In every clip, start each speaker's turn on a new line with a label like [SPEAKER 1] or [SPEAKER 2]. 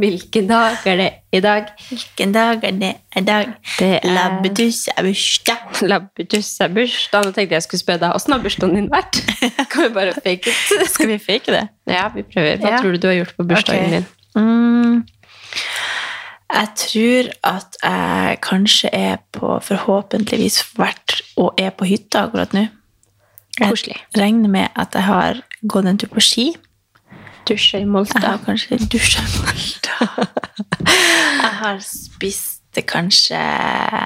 [SPEAKER 1] Hvilken dag er det i dag?
[SPEAKER 2] Hvilken dag er det i dag?
[SPEAKER 1] Det er-
[SPEAKER 2] Labbetuss er bursdag.
[SPEAKER 1] Labbetuss er bursdag. Nå tenkte jeg skulle spørre deg åssen har bursdagen din vært? Kan vi bare fake it?
[SPEAKER 2] Skal vi fake det?
[SPEAKER 1] Ja, vi prøver. Hva
[SPEAKER 2] Ja.
[SPEAKER 1] tror du du har gjort på bursdagen
[SPEAKER 2] Ok.
[SPEAKER 1] din?
[SPEAKER 2] Mm. Jeg tror at jeg kanskje er på forhåpentligvis vært og er på hytta akkurat nå.
[SPEAKER 1] Koselig.
[SPEAKER 2] Jeg regner med at jeg har gått en tur på ski.
[SPEAKER 1] Dusje i
[SPEAKER 2] Jeg
[SPEAKER 1] Molta.
[SPEAKER 2] har kanskje dusja Jeg har spist kanskje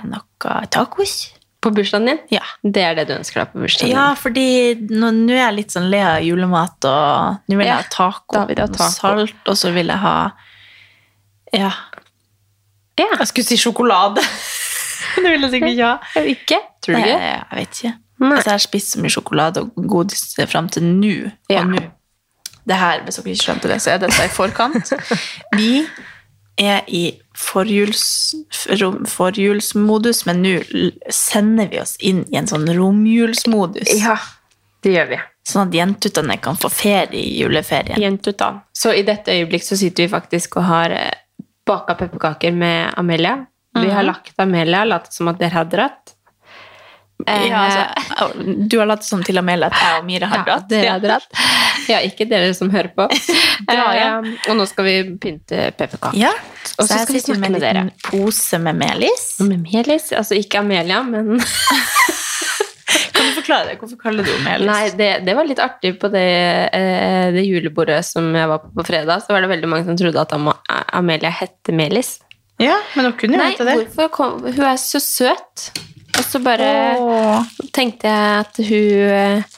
[SPEAKER 2] noe tacos.
[SPEAKER 1] På bursdagen din?
[SPEAKER 2] Ja.
[SPEAKER 1] Det er det du ønsker deg på bursdagen
[SPEAKER 2] Ja,
[SPEAKER 1] din?
[SPEAKER 2] fordi nå, nå er jeg litt sånn lei av julemat, og nå vil jeg
[SPEAKER 1] Ja,
[SPEAKER 2] ha taco,
[SPEAKER 1] da vil jeg ha taco.
[SPEAKER 2] salt, og så vil jeg ha Ja.
[SPEAKER 1] Ja.
[SPEAKER 2] Jeg skulle si sjokolade. nå vil jeg sikkert ja.
[SPEAKER 1] Er du Ikke? Tror du
[SPEAKER 2] Nei,
[SPEAKER 1] ikke?
[SPEAKER 2] Eh, jeg vet ikke.
[SPEAKER 1] Nei.
[SPEAKER 2] Altså, jeg har spist så mye sjokolade og godis fram til nå.
[SPEAKER 1] Ja.
[SPEAKER 2] Og nå det her, Hvis dere ikke skjønte det, så er dette i forkant. Vi er i forjuls, rom- forjulsmodus, men nå l- sender vi oss inn i en sånn romjulsmodus.
[SPEAKER 1] Ja, det gjør vi.
[SPEAKER 2] Sånn at jentutene kan få ferie i juleferien.
[SPEAKER 1] Jentutan. Så i dette øyeblikk så sitter vi faktisk og har eh, baka pepperkaker med Amelia.
[SPEAKER 2] Mhm.
[SPEAKER 1] Vi har lagt Amelia, latt som at dere har dratt. Eh,
[SPEAKER 2] Ja, altså, du har latt som til og med at jeg og Mira har dratt.
[SPEAKER 1] Ja, dere har dratt. Ja, ikke dere som hører på.
[SPEAKER 2] Ja, ja.
[SPEAKER 1] Eh, og nå skal vi pynte pepperkaker.
[SPEAKER 2] Ja,
[SPEAKER 1] Og så
[SPEAKER 2] jeg
[SPEAKER 1] skal vi
[SPEAKER 2] sitter
[SPEAKER 1] snakke med
[SPEAKER 2] en liten pose med melis.
[SPEAKER 1] Med Melis, altså ikke Amelia, men
[SPEAKER 2] Kan du forklare det? Hvorfor kaller du det melis?
[SPEAKER 1] Nei, det, det var litt artig på det, eh, det julebordet som jeg var på på fredag. Så var det veldig mange som trodde at Ama Amelia hette Melis.
[SPEAKER 2] Ja, men hun kunne jo
[SPEAKER 1] Nei,
[SPEAKER 2] hete det.
[SPEAKER 1] hvorfor kom Hun er så søt. Og så bare
[SPEAKER 2] eh? Åh.
[SPEAKER 1] tenkte jeg at hun, eh,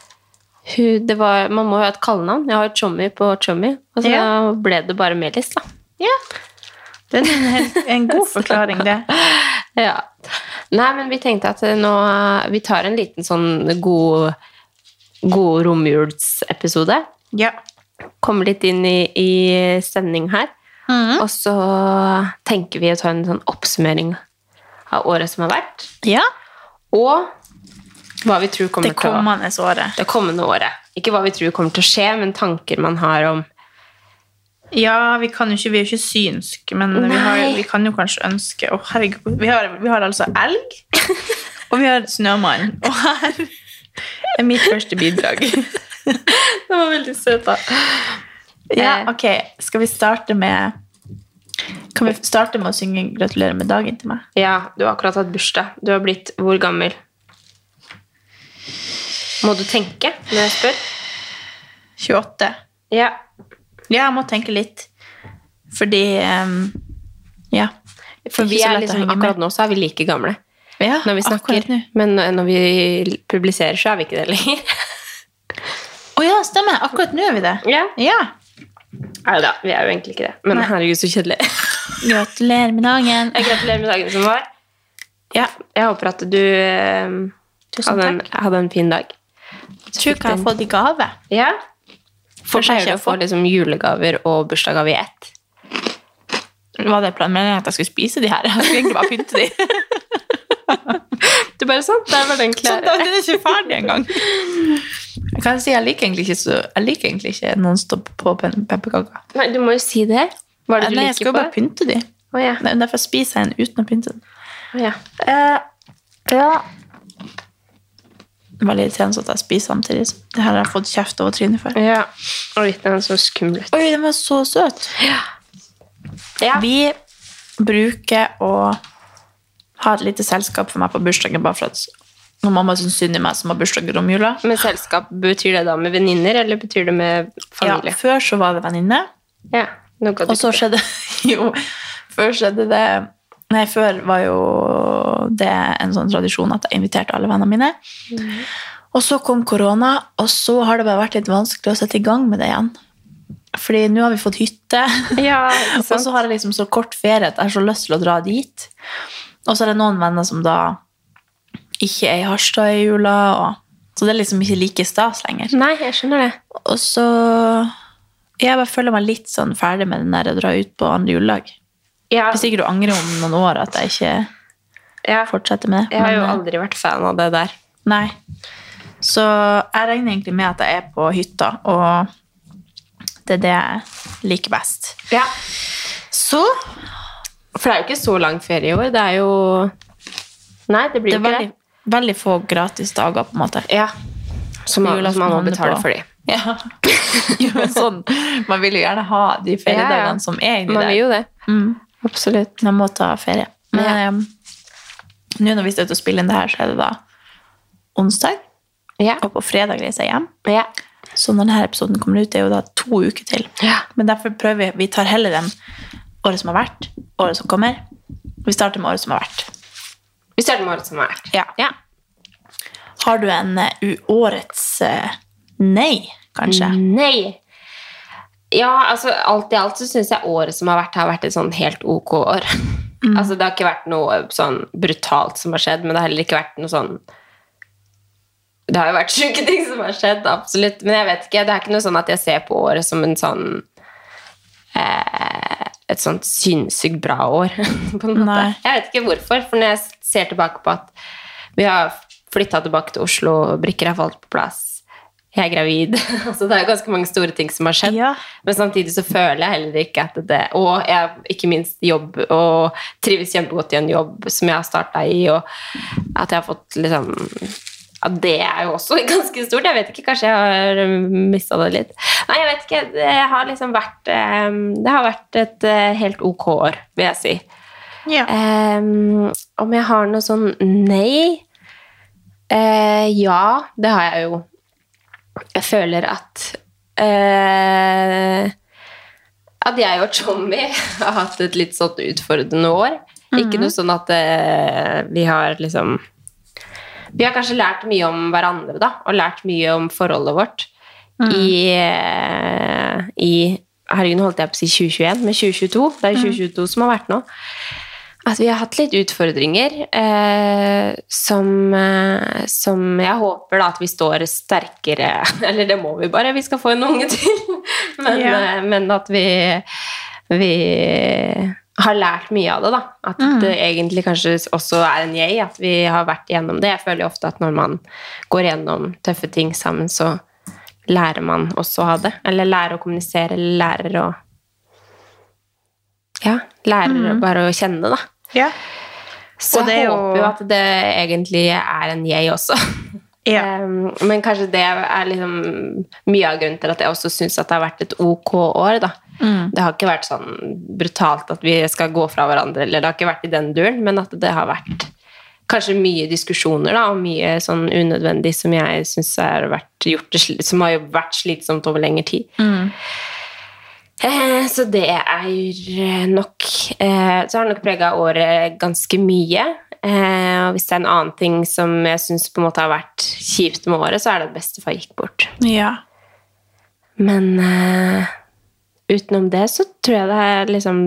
[SPEAKER 1] hun det var, Man må jo ha et kallenavn. Jeg har jo Chommy på Chommy. Og så
[SPEAKER 2] Ja.
[SPEAKER 1] ble det bare Melis, da.
[SPEAKER 2] Ja. Det er en, helt- en god forklaring, det.
[SPEAKER 1] Ja. Nei, men vi tenkte at eh, nå Vi tar en liten sånn god, god romjulsepisode.
[SPEAKER 2] Ja.
[SPEAKER 1] Kommer litt inn i, i stemning her.
[SPEAKER 2] Mm.
[SPEAKER 1] Og så tenker vi å ta en sånn oppsummering av året som har vært.
[SPEAKER 2] ja.
[SPEAKER 1] Og hva vi tror kommer
[SPEAKER 2] Det
[SPEAKER 1] til å
[SPEAKER 2] kommende året.
[SPEAKER 1] det kommende året. Ikke hva vi tror kommer til å skje, men tanker man har om
[SPEAKER 2] Ja, vi, kan jo ikke, vi er jo ikke synske, men vi, har,
[SPEAKER 1] Nei.
[SPEAKER 2] vi kan jo kanskje ønske Å, herregud. Vi har, vi har altså elg, og vi har snømann. Og her er mitt første bidrag.
[SPEAKER 1] Det var veldig søt, da.
[SPEAKER 2] Ja, ok. Skal vi starte med Kan vi starte med å synge 'Gratulerer med dagen' til meg?
[SPEAKER 1] Ja, du har akkurat hatt bursdag. Du har blitt hvor gammel? Må du tenke når jeg spør?
[SPEAKER 2] 28.
[SPEAKER 1] Ja.
[SPEAKER 2] Ja, jeg må tenke litt. Fordi ehm, Ja.
[SPEAKER 1] For vi er liksom, akkurat nå så er vi like gamle
[SPEAKER 2] ja,
[SPEAKER 1] når vi snakker.
[SPEAKER 2] akkurat nå.
[SPEAKER 1] Men eh, når når vi publiserer, så er vi ikke det lenger.
[SPEAKER 2] Å ja, stemmer. Akkurat nå er vi det.
[SPEAKER 1] Ja.
[SPEAKER 2] Ja.
[SPEAKER 1] Nei da, vi er jo egentlig ikke det. Men
[SPEAKER 2] Nei.
[SPEAKER 1] herregud, så kjedelig.
[SPEAKER 2] Gratulerer med dagen.
[SPEAKER 1] Jeg gratulerer med dagen som var. Ja, jeg håper at du eh,
[SPEAKER 2] Tusen
[SPEAKER 1] hadde en,
[SPEAKER 2] takk.
[SPEAKER 1] hadde en fin dag.
[SPEAKER 2] Tror hva jeg har fått i gave.
[SPEAKER 1] Ja. For
[SPEAKER 2] Kanskje
[SPEAKER 1] pleier du
[SPEAKER 2] jeg
[SPEAKER 1] å få
[SPEAKER 2] får-
[SPEAKER 1] liksom julegaver og bursdagsgave i ett?
[SPEAKER 2] Var det planmeldingen at jeg skulle spise de her? Jeg skulle egentlig bare pynte de.
[SPEAKER 1] Du bare sånn, der var den
[SPEAKER 2] Sånn, da, den er ikke ferdig engang. Jeg kan si jeg liker egentlig ikke, så, jeg liker egentlig ikke nonstop på pe- pepperkaker.
[SPEAKER 1] Nei, du må jo si det. Hva er det du
[SPEAKER 2] Nei, jeg skal
[SPEAKER 1] liker
[SPEAKER 2] jo
[SPEAKER 1] på?
[SPEAKER 2] bare pynte de.
[SPEAKER 1] Å ja.
[SPEAKER 2] Det er derfor jeg spiser en uten å pynte den.
[SPEAKER 1] å ja.
[SPEAKER 2] Eh, Det var litt irriterende at jeg spiser samtidig. som- Det her har jeg fått kjeft over trynet for.
[SPEAKER 1] ja. Oi, den er så skummel ut.
[SPEAKER 2] Oi, den var så søt.
[SPEAKER 1] Ja.
[SPEAKER 2] Vi bruker å ha et lite selskap for meg på bursdagen, bare for at Og mamma syns synd i meg som har bursdag i romjula.
[SPEAKER 1] Med selskap, betyr det da med venninner, eller betyr det med
[SPEAKER 2] Ja,
[SPEAKER 1] familie?
[SPEAKER 2] før så var det venninne,
[SPEAKER 1] Ja. Nå ga du
[SPEAKER 2] og så
[SPEAKER 1] ikke-
[SPEAKER 2] skjedde Jo, før skjedde det Nei, før var jo det en sånn tradisjon at jeg inviterte alle vennene mine. Mm. Og så kom korona, og så har det bare vært litt vanskelig å sette i gang med det igjen. Fordi nå har vi fått hytte,
[SPEAKER 1] Ja, ikke
[SPEAKER 2] og så
[SPEAKER 1] sant?
[SPEAKER 2] har jeg liksom så kort ferie at jeg har så lyst til å dra dit. Og så er det noen venner som da ikke er i Harstad i jula, og, så det er liksom ikke like stas lenger.
[SPEAKER 1] Nei, jeg skjønner det.
[SPEAKER 2] Og så Jeg bare føler meg litt sånn ferdig med den der å dra ut på andre juledag.
[SPEAKER 1] Ja,
[SPEAKER 2] Hvis ikke du angrer om noen år at jeg ikke
[SPEAKER 1] ja.
[SPEAKER 2] fortsetter med det.
[SPEAKER 1] Jeg har jo
[SPEAKER 2] men, eh,
[SPEAKER 1] aldri vært fan av det der.
[SPEAKER 2] Nei. Så jeg regner egentlig med at jeg er på hytta, og det er det jeg liker best.
[SPEAKER 1] Ja.
[SPEAKER 2] Så
[SPEAKER 1] For det er jo ikke så lang ferie i år. Det er jo Nei, det blir
[SPEAKER 2] det
[SPEAKER 1] jo
[SPEAKER 2] er
[SPEAKER 1] ikke
[SPEAKER 2] veldig, veldig få gratis dager, på en måte.
[SPEAKER 1] det. Ja. Som man, som man må
[SPEAKER 2] Julaften
[SPEAKER 1] betale
[SPEAKER 2] på.
[SPEAKER 1] for de.
[SPEAKER 2] Ja. Jo, men sånn, man vil jo gjerne ha de feriedagene
[SPEAKER 1] Ja, ja.
[SPEAKER 2] som er inni
[SPEAKER 1] Man
[SPEAKER 2] der.
[SPEAKER 1] vil jo det.
[SPEAKER 2] Mm.
[SPEAKER 1] Absolutt.
[SPEAKER 2] Man må ta ferie. Men
[SPEAKER 1] Ja.
[SPEAKER 2] em, nå når vi skal ut og spille inn det her, så er det da onsdag.
[SPEAKER 1] Ja.
[SPEAKER 2] Og på fredag reiser jeg hjem.
[SPEAKER 1] Ja.
[SPEAKER 2] Så når denne episoden kommer ut, det er jo da to uker til.
[SPEAKER 1] Ja.
[SPEAKER 2] Men derfor prøver vi. Vi tar heller den året som har vært, året som kommer. Vi starter med året som har vært.
[SPEAKER 1] Vi starter med året som har vært.
[SPEAKER 2] Ja.
[SPEAKER 1] Ja.
[SPEAKER 2] Har du en eh, u- årets eh, nei, kanskje?
[SPEAKER 1] Nei. Ja, altså alt i alt så syns jeg året som har vært, har vært et sånn helt ok år. Altså det har ikke vært noe sånn brutalt som har skjedd, men det har heller ikke vært noe sånn Det har jo vært sjuke ting som har skjedd, absolutt. Men jeg vet ikke, det er ikke noe sånn at jeg ser på året som en sånn eh, et sånt sinnssykt bra år, på en måte.
[SPEAKER 2] Nei.
[SPEAKER 1] Jeg vet ikke hvorfor, for når jeg ser tilbake på at vi har flytta tilbake til Oslo, brikker har falt på plass, jeg er gravid altså, Det er jo ganske mange store ting som har skjedd.
[SPEAKER 2] Ja.
[SPEAKER 1] Men samtidig så føler jeg heller ikke at det Og jeg, ikke minst jobb, og trives kjempegodt i en jobb som jeg har starta i, og at jeg har fått liksom ja, Det er jo også ganske stort. Jeg vet ikke, kanskje jeg har mista det litt. Nei, jeg vet ikke. Det har liksom vært eh, Det har vært et eh, helt ok år, vil jeg si.
[SPEAKER 2] Ja.
[SPEAKER 1] Ehm, om jeg har noe sånn nei Eh, Ja, det har jeg jo. Jeg føler at eh, At jeg og Tommy har hatt et litt sånn utfordrende år. Ikke noe sånn at eh, vi har liksom Vi har kanskje lært mye om hverandre, da, og lært mye om forholdet vårt i, eh, i Herregud, nå holdt jeg på å si 2021, men 2022. Det er jo 2022 som har vært nå at Altså, vi har hatt litt utfordringer eh, som, eh, som jeg håper da at vi står sterkere Eller det må vi bare, vi skal få en unge til. Men,
[SPEAKER 2] Ja.
[SPEAKER 1] eh, men at vi, vi har lært mye av det, da. At det egentlig kanskje også er en jeg, at vi har vært igjennom det. Jeg føler jo ofte at når man går gjennom tøffe ting sammen, så lærer man også av det. Eller lærer å kommunisere, eller lærer å Ja, lærer bare å kjenne, da.
[SPEAKER 2] Ja.
[SPEAKER 1] Så
[SPEAKER 2] Og det er
[SPEAKER 1] jeg
[SPEAKER 2] jo-
[SPEAKER 1] håper jo at det egentlig er en jeg også.
[SPEAKER 2] Ja.
[SPEAKER 1] Um, men kanskje det er liksom mye av grunnen til at jeg også syns at det har vært et ok år. da. Det har ikke vært sånn brutalt at vi skal gå fra hverandre, eller det har ikke vært i den duren, men at det har vært kanskje mye diskusjoner da, og mye sånn unødvendig som jeg syns har vært gjort det sli- som har jo vært slitsomt over lengre tid. Eh, Så det er nok eh, Så har det nok prega året ganske mye. Eh, Og hvis det er en annen ting som jeg syns har vært kjipt med året, så er det at bestefar gikk bort.
[SPEAKER 2] ja.
[SPEAKER 1] Men eh, utenom det så tror jeg det er liksom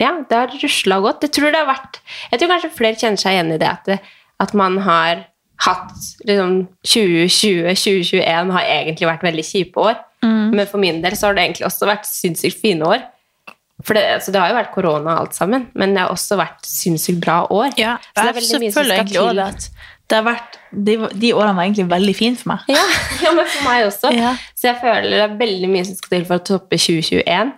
[SPEAKER 1] Ja, det har rusla godt. Jeg tror, det har vært, jeg tror kanskje flere kjenner seg igjen i det at, det, at man har hatt liksom 2020-2021 har egentlig vært veldig kjipe år.
[SPEAKER 2] Mm.
[SPEAKER 1] Men for min del så har det egentlig også vært sinnssykt fine år. For det, altså, det har jo vært korona og alt sammen, men det har også vært sinnssykt bra år.
[SPEAKER 2] Ja,
[SPEAKER 1] Så det er
[SPEAKER 2] jeg
[SPEAKER 1] veldig mye som
[SPEAKER 2] føler
[SPEAKER 1] skal
[SPEAKER 2] egentlig også
[SPEAKER 1] til.
[SPEAKER 2] det at det har vært, de, de årene var egentlig veldig fine for meg.
[SPEAKER 1] Ja, ja, men for meg også.
[SPEAKER 2] Ja.
[SPEAKER 1] Så jeg føler det er veldig mye som skal til for å toppe 2021.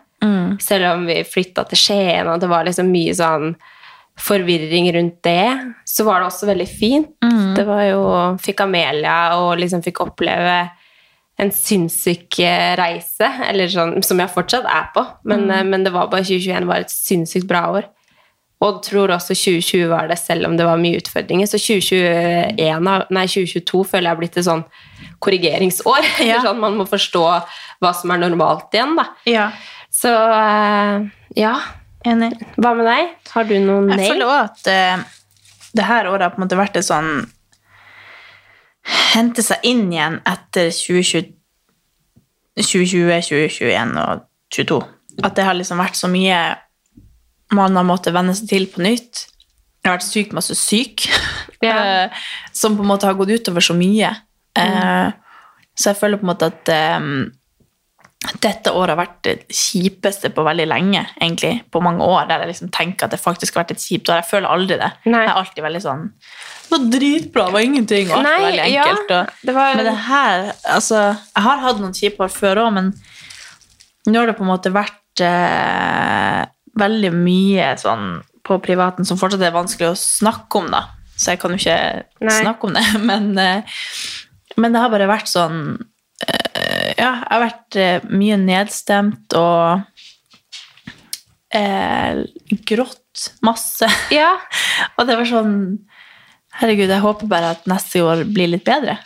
[SPEAKER 1] Selv om vi flytta til Skien, og det var liksom mye sånn forvirring rundt det, så var det også veldig fint. Det var jo Fikk Amelia og liksom fikk oppleve en sinnssyk eh, reise, eller sånn, som jeg fortsatt er på, men, eh, men det var bare 2021 var et sinnssykt bra år. Og tror også 2020 var det, selv om det var mye utfordringer. Så 2021, har- nei, 2022 føler jeg har blitt et sånn korrigeringsår.
[SPEAKER 2] Ja.
[SPEAKER 1] Eller sånn, man må forstå hva som er normalt igjen, da.
[SPEAKER 2] Ja,
[SPEAKER 1] Så eh, ja.
[SPEAKER 2] enig.
[SPEAKER 1] Hva med deg? Har du noen
[SPEAKER 2] Jeg føler
[SPEAKER 1] nail?
[SPEAKER 2] også at eh, det her året har på en måte vært et sånn Hente seg inn igjen etter 2020, 2020 2021 og 2022. At det har liksom vært så mye man har måttet venne seg til på nytt. Jeg har vært sykt masse syk,
[SPEAKER 1] Ja. Mm.
[SPEAKER 2] eh, som på en måte har gått utover så mye. Eh, Så jeg føler på en måte at eh, dette året har vært det kjipeste på veldig lenge, egentlig. På mange år, der jeg liksom tenker at det faktisk har vært et kjipt år. Jeg føler aldri det.
[SPEAKER 1] Nei.
[SPEAKER 2] Jeg er alltid veldig sånn Det var dritbra, det var ingenting, og alt var
[SPEAKER 1] Nei,
[SPEAKER 2] veldig
[SPEAKER 1] ja,
[SPEAKER 2] enkelt. Og,
[SPEAKER 1] det var-
[SPEAKER 2] Men det her Altså, jeg har hatt noen kjipe år før òg, men nå har det på en måte vært eh, veldig mye sånn på privaten som fortsatt er vanskelig å snakke om, da. Så jeg kan jo ikke
[SPEAKER 1] Nei.
[SPEAKER 2] snakke om det, men, eh, men det har bare vært sånn eh, Ja, jeg har vært eh, mye nedstemt og eh, grått masse.
[SPEAKER 1] Ja.
[SPEAKER 2] Og det var sånn Herregud, jeg håper bare at neste år blir litt bedre.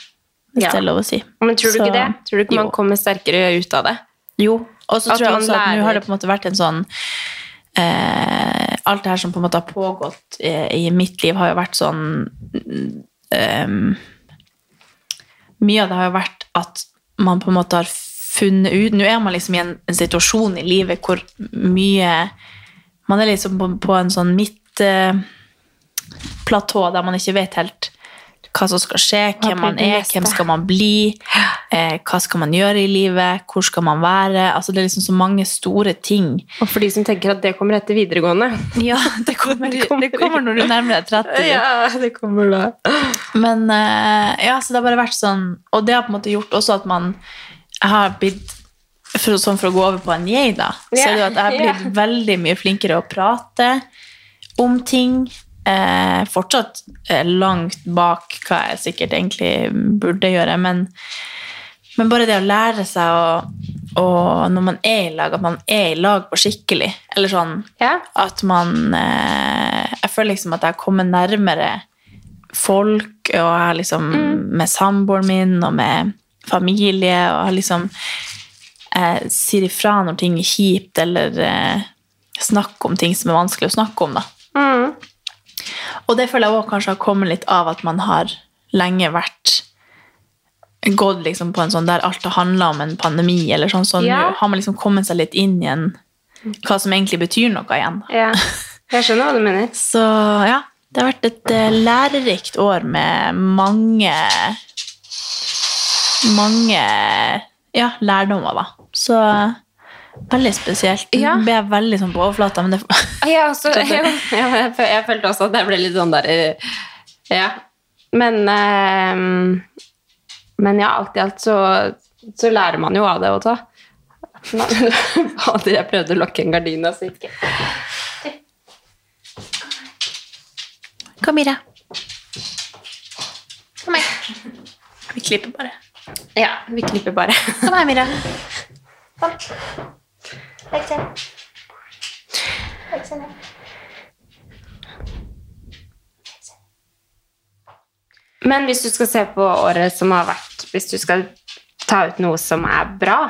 [SPEAKER 2] Hvis
[SPEAKER 1] Ja.
[SPEAKER 2] det er lov å si.
[SPEAKER 1] Men tror du
[SPEAKER 2] Så-
[SPEAKER 1] ikke det? Tror du ikke man
[SPEAKER 2] Jo.
[SPEAKER 1] kommer sterkere ut av det?
[SPEAKER 2] Jo, og så
[SPEAKER 1] At
[SPEAKER 2] tror jeg
[SPEAKER 1] man
[SPEAKER 2] også at nå
[SPEAKER 1] lærer.
[SPEAKER 2] har det på en måte vært en sånn eh, Alt det her som på en måte har pågått eh, i mitt liv, har jo vært sånn eh, Mye av det har jo vært at man på en måte har funnet ut Nå er man liksom i en, en situasjon i livet hvor mye Man er liksom på, på en sånn midt eh, platå der man ikke vet helt hva som skal skje, hvem
[SPEAKER 1] blir
[SPEAKER 2] man
[SPEAKER 1] det
[SPEAKER 2] er,
[SPEAKER 1] neste?
[SPEAKER 2] hvem skal man bli, eh, hva skal man gjøre i livet, hvor skal man være? Altså, det er liksom så mange store ting.
[SPEAKER 1] Og for de som tenker at det kommer etter videregående.
[SPEAKER 2] Ja, det kommer, det kommer når du nærmer deg 30.
[SPEAKER 1] det kommer da.
[SPEAKER 2] Men eh, ja, så det har bare vært sånn Og det har på en måte gjort også at man Jeg har blitt for, Sånn for å gå over på en jeg da Så er det jo at jeg har blitt veldig mye flinkere å prate Om ting eh, Fortsatt eh, langt bak Hva jeg sikkert egentlig burde gjøre Men, men bare det å lære seg å, å, Når man er i lag At man er i lag på skikkelig Eller sånn
[SPEAKER 1] Ja.
[SPEAKER 2] at man eh, Jeg føler liksom at jeg har kommet nærmere folk, og jeg har liksom med samboeren min og med familie, og jeg har liksom eh, sier ifra når ting er kjipt, eller eh, snakker om ting som er vanskelig å snakke om, da. Og det føler jeg òg kanskje har kommet litt av at man har lenge vært Gått liksom på en sånn der alt har handla om en pandemi, eller sånn, så
[SPEAKER 1] Ja.
[SPEAKER 2] nå har man liksom kommet seg litt inn igjen hva som egentlig betyr noe igjen. da.
[SPEAKER 1] ja. Jeg skjønner hva du mener.
[SPEAKER 2] Så ja, det har vært et eh, lærerikt år med mange mange ja, lærdommer, da. Så veldig spesielt.
[SPEAKER 1] Ja.
[SPEAKER 2] Nå ble jeg veldig sånn på overflata, men det
[SPEAKER 1] Jeg, også, jeg, jeg, føl- jeg følte også at jeg ble litt sånn der eh, Ja. Men eh, Men ja, alt i alt så, så lærer man jo av det også. Nei, Fader, jeg prøvde å lukke en gardin, altså ikke
[SPEAKER 2] Kom, Mira. Kom her. Vi klipper bare.
[SPEAKER 1] Ja, vi klipper bare.
[SPEAKER 2] Kom her, Mira.
[SPEAKER 1] Men hvis du skal se på året som har vært, hvis du skal ta ut noe som er bra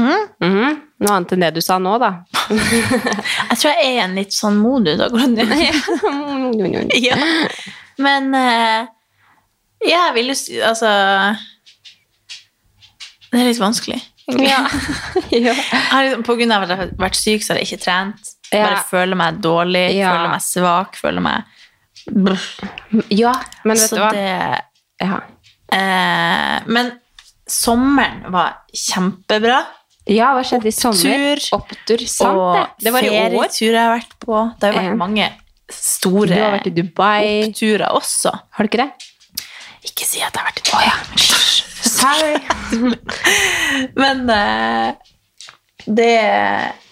[SPEAKER 1] Mhm. Noe annet enn det du sa nå, da.
[SPEAKER 2] Jeg tror jeg er i en litt sånn modus akkurat nå. ja. Men eh, ja, jeg vil jo si Altså Det er litt vanskelig.
[SPEAKER 1] ja. ja.
[SPEAKER 2] Jeg har liksom- På grunn av at jeg har vært syk, så har jeg ikke trent.
[SPEAKER 1] Ja.
[SPEAKER 2] Bare føler meg dårlig,
[SPEAKER 1] Ja.
[SPEAKER 2] føler meg svak, føler meg
[SPEAKER 1] Ja, men vet
[SPEAKER 2] Så
[SPEAKER 1] du hva?
[SPEAKER 2] det
[SPEAKER 1] Ja.
[SPEAKER 2] eh, Men sommeren var kjempebra.
[SPEAKER 1] ja, hva skjedde i sommer?
[SPEAKER 2] Opptur.
[SPEAKER 1] Opptur. Sant
[SPEAKER 2] og
[SPEAKER 1] det. Det var i år.
[SPEAKER 2] ferieturer jeg har vært på. Det har jo
[SPEAKER 1] Ja.
[SPEAKER 2] vært mange store
[SPEAKER 1] Du har vært i Dubai.
[SPEAKER 2] oppturer også.
[SPEAKER 1] Har du ikke det?
[SPEAKER 2] Ikke si at jeg har vært i Dubai. Men eh, det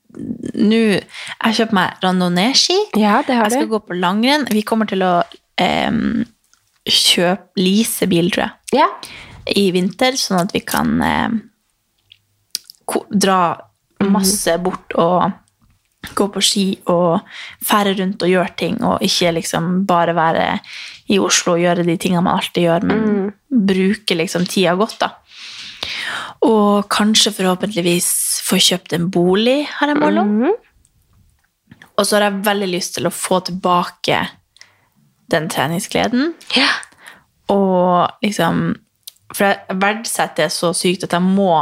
[SPEAKER 2] nå Jeg kjøper meg randonee-ski.
[SPEAKER 1] Ja, det
[SPEAKER 2] Jeg skal gå på langrenn. Vi kommer til å em, kjøpe lease bil, tror jeg,
[SPEAKER 1] Ja.
[SPEAKER 2] i vinter, sånn at vi kan em, ko dra masse bort og gå på ski og fære rundt og gjøre ting, og ikke liksom bare være i Oslo og gjøre de tingene man alltid gjør, men bruke liksom tida godt, da. Og kanskje forhåpentligvis få kjøpt en bolig, har jeg mål om. Og så har jeg veldig lyst til å få tilbake den treningsgleden. Og liksom For jeg verdsetter det så sykt at jeg må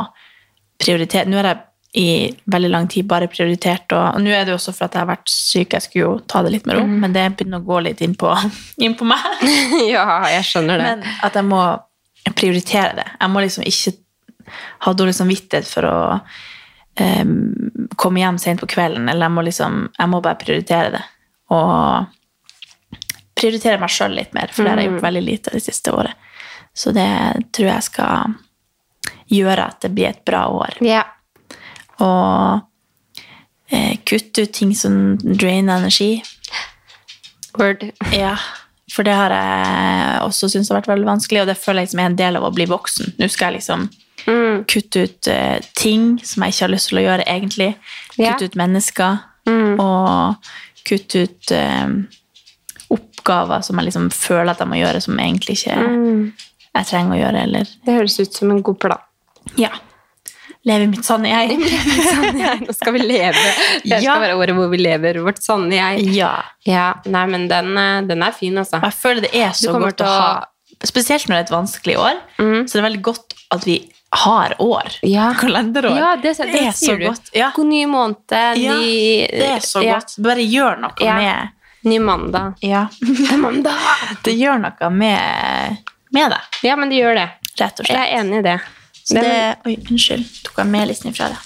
[SPEAKER 2] prioritere Nå har jeg i veldig lang tid bare prioritert og, og nå er det jo også for at jeg har vært syk, jeg skulle jo ta det litt med ro, men det begynner å gå litt inn på, inn på meg.
[SPEAKER 1] ja, jeg skjønner det.
[SPEAKER 2] Men at jeg må prioritere det. Jeg må liksom ikke ha dårlig samvittighet for å em, komme hjem sent på kvelden, eller jeg må liksom Jeg må bare prioritere det. Og prioritere meg sjøl litt mer, for det har jeg gjort veldig lite det siste året. Så det tror jeg skal gjøre at det blir et bra år.
[SPEAKER 1] ja.
[SPEAKER 2] Og eh, kutte ut ting som drainer energi.
[SPEAKER 1] Word.
[SPEAKER 2] Ja, for det har jeg også syntes har vært veldig vanskelig, og det føler jeg liksom er en del av å bli voksen. Nå skal jeg liksom
[SPEAKER 1] Mm.
[SPEAKER 2] kutte ut eh, ting som jeg ikke har lyst til å gjøre egentlig.
[SPEAKER 1] Ja.
[SPEAKER 2] Kutte ut mennesker, Mm. og kutte ut eh, oppgaver som jeg liksom føler at jeg må gjøre, som egentlig ikke jeg trenger å gjøre, eller
[SPEAKER 1] Mm. Det høres ut som en god plan.
[SPEAKER 2] ja. Leve mitt sanne jeg.
[SPEAKER 1] Nå skal vi leve. Det
[SPEAKER 2] Ja.
[SPEAKER 1] skal være året hvor vi lever vårt sanne jeg.
[SPEAKER 2] Ja.
[SPEAKER 1] Ja, nei, men den, eh, den er fin, altså.
[SPEAKER 2] Og jeg føler det er så
[SPEAKER 1] kommer
[SPEAKER 2] godt
[SPEAKER 1] til
[SPEAKER 2] å
[SPEAKER 1] å-
[SPEAKER 2] ha Mm. Spesielt når det er et vanskelig år, så det er veldig godt at vi har år.
[SPEAKER 1] Ja.
[SPEAKER 2] Kalenderår.
[SPEAKER 1] Ja, det, det,
[SPEAKER 2] Det er så
[SPEAKER 1] sier du.
[SPEAKER 2] godt, ja.
[SPEAKER 1] God ny måned,
[SPEAKER 2] Ja,
[SPEAKER 1] ny
[SPEAKER 2] Det er så
[SPEAKER 1] ja,
[SPEAKER 2] godt. Bare gjør noe
[SPEAKER 1] Ja.
[SPEAKER 2] med
[SPEAKER 1] Ny mandag.
[SPEAKER 2] ja. Det gjør noe med, med deg,
[SPEAKER 1] Ja, men det gjør det.
[SPEAKER 2] rett og
[SPEAKER 1] Jeg
[SPEAKER 2] slett.
[SPEAKER 1] er enig i det.
[SPEAKER 2] Så det, oi, unnskyld. Tok jeg med listen ifra deg?